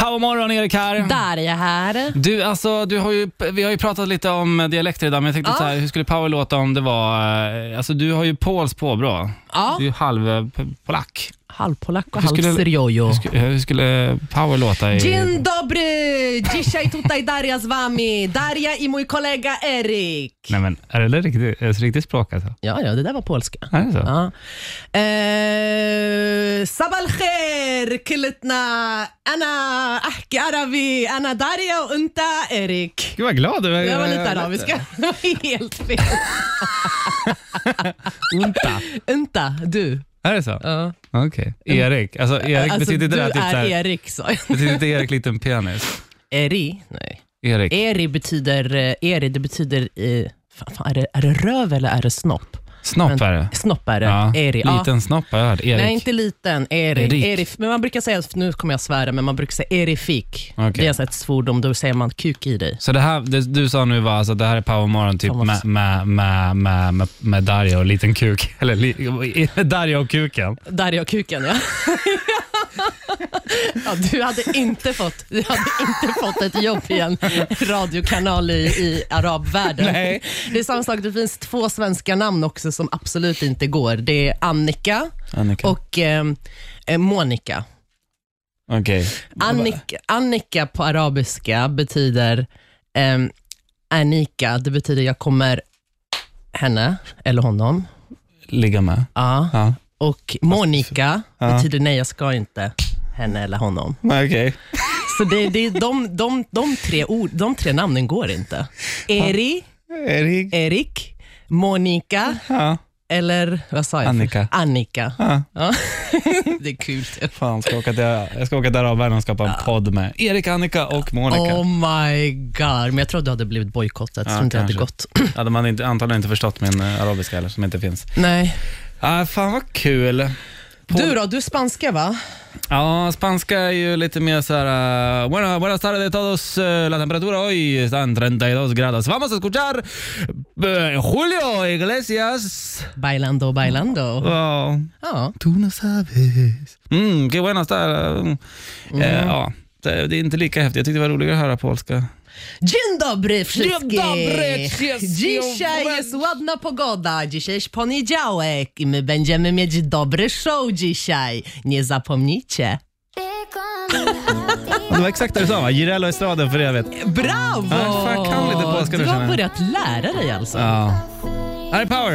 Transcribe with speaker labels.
Speaker 1: Powermorgon, Erik här.
Speaker 2: Där är jag här.
Speaker 1: Du, alltså, du har ju, vi har ju pratat lite om eh, dialekter idag, men jag tänkte
Speaker 2: Ja.
Speaker 1: så här, hur skulle Power låta om det var... eh, Alltså, du har ju Pauls påbrå.
Speaker 2: Ja.
Speaker 1: Du är ju halvpolack.
Speaker 2: Halvpolack och
Speaker 1: Hur skulle-
Speaker 2: halvsyrjojo.
Speaker 1: Hur, sk- hur skulle Power låta i...
Speaker 2: Dzień dobry! Dzisiaj tutaj Daria z wami. Daria i mój kolega Erik.
Speaker 1: Nej, men är det där riktigt, är det riktigt språk alltså?
Speaker 2: Ja, ja, det där var polska.
Speaker 1: Är det så?
Speaker 2: Ja. Eh, صباح الخير كلتنا انا احكي عربي انا داريا وانت اريك
Speaker 1: Gud vad glad du är.
Speaker 2: Jag var lite arabiska. Det var helt fel.
Speaker 1: Unta.
Speaker 2: Inte du.
Speaker 1: Är det så?
Speaker 2: Ja.
Speaker 1: Okej. Erik. Alltså, Erik
Speaker 2: Alltså,
Speaker 1: betyder inte
Speaker 2: du
Speaker 1: det här typ
Speaker 2: är
Speaker 1: såhär...
Speaker 2: Erik, sa jag.
Speaker 1: Betyder inte Erik liten penis?
Speaker 2: Eri? Nej.
Speaker 1: Erik.
Speaker 2: Eri betyder... eh, Eri, det betyder... eh, Fan, fan, är, det, är det röv eller är det snopp?
Speaker 1: Snopp är det.
Speaker 2: Snopp är det. Eri. ja.
Speaker 1: Liten snopp har jag hört. Erik.
Speaker 2: Nej, inte liten. Eri.
Speaker 1: Erik.
Speaker 2: Eri. Men man brukar säga, nu kommer jag svära, men man brukar säga erifik.
Speaker 1: Okej.
Speaker 2: Det är alltså ett svordom, då säger man kuk i dig.
Speaker 1: Så det här det du sa nu var alltså det här är Powermorgon typ
Speaker 2: Fan, vad
Speaker 1: med, med, med, med, med, med Dario och liten kuk. Eller li, Dario och kuken.
Speaker 2: Där är jag kuken, ja. ja du, hade inte fått, du hade inte fått ett jobb i en radiokanal i, i arabvärlden.
Speaker 1: Nej.
Speaker 2: Det är samma sak, det finns två svenska namn också som absolut inte går. Det är Annika
Speaker 1: Annika.
Speaker 2: och eh, eh, Monica.
Speaker 1: Okej.
Speaker 2: Annika, Annika på arabiska betyder eh, Anika, det betyder jag kommer henne eller honom.
Speaker 1: Ligga med.
Speaker 2: Ja.
Speaker 1: Ja.
Speaker 2: Och Monica
Speaker 1: Ja.
Speaker 2: betyder nej, jag ska inte henne eller honom.
Speaker 1: Okej.
Speaker 2: Så det, det, de, de, de, tre ord, de tre namnen går inte. Eri,
Speaker 1: Erik.
Speaker 2: Erik, Monica
Speaker 1: Ja.
Speaker 2: eller vad sa jag?
Speaker 1: Annika.
Speaker 2: Annika.
Speaker 1: Ja.
Speaker 2: Ja. Det är kul.
Speaker 1: Fan, ska åka till, jag ska åka till arabvärlden och skapa en podd med Erik, Annika och Monica.
Speaker 2: Oh my god. Men jag tror du hade blivit bojkottad. Jag
Speaker 1: Ja,
Speaker 2: tror inte det hade
Speaker 1: kanske.
Speaker 2: gått.
Speaker 1: Hade man inte, antagligen inte förstått min eh, arabiska heller, som inte finns.
Speaker 2: Nej.
Speaker 1: Ah, fan vad kul.
Speaker 2: Du då, du är spanska va?
Speaker 1: Ja, Ah, spanska är ju lite mer så här... eh, bueno, buenas tardes a todos. Eh, La temperatura hoy está en 32 grados. Vamos a escuchar eh, Julio Iglesias.
Speaker 2: Bailando, bailando.
Speaker 1: Ja.
Speaker 2: Ja.
Speaker 1: Tú no sabes. Mm, qué bueno estar. Mm. Eh, ja, det, det är inte lika häftigt. Jag tyckte det var roligare att höra polska.
Speaker 2: Dzień dobry wszystkim!
Speaker 1: Dzień dobry wszystkim!
Speaker 2: Dzisiaj jest ładna pogoda, dzisiaj jest poniedziałek i my będziemy mieć dobry show dzisiaj. Nie zapomnijcie.
Speaker 1: Det var exakt det du sa, va? Jirelo Estrada för evigt.
Speaker 2: Brawo!
Speaker 1: Ja, fan, kan lite polska nu,
Speaker 2: Du
Speaker 1: känner
Speaker 2: har
Speaker 1: jag.
Speaker 2: börjat lära dig alltså.
Speaker 1: Ja. Här är Power.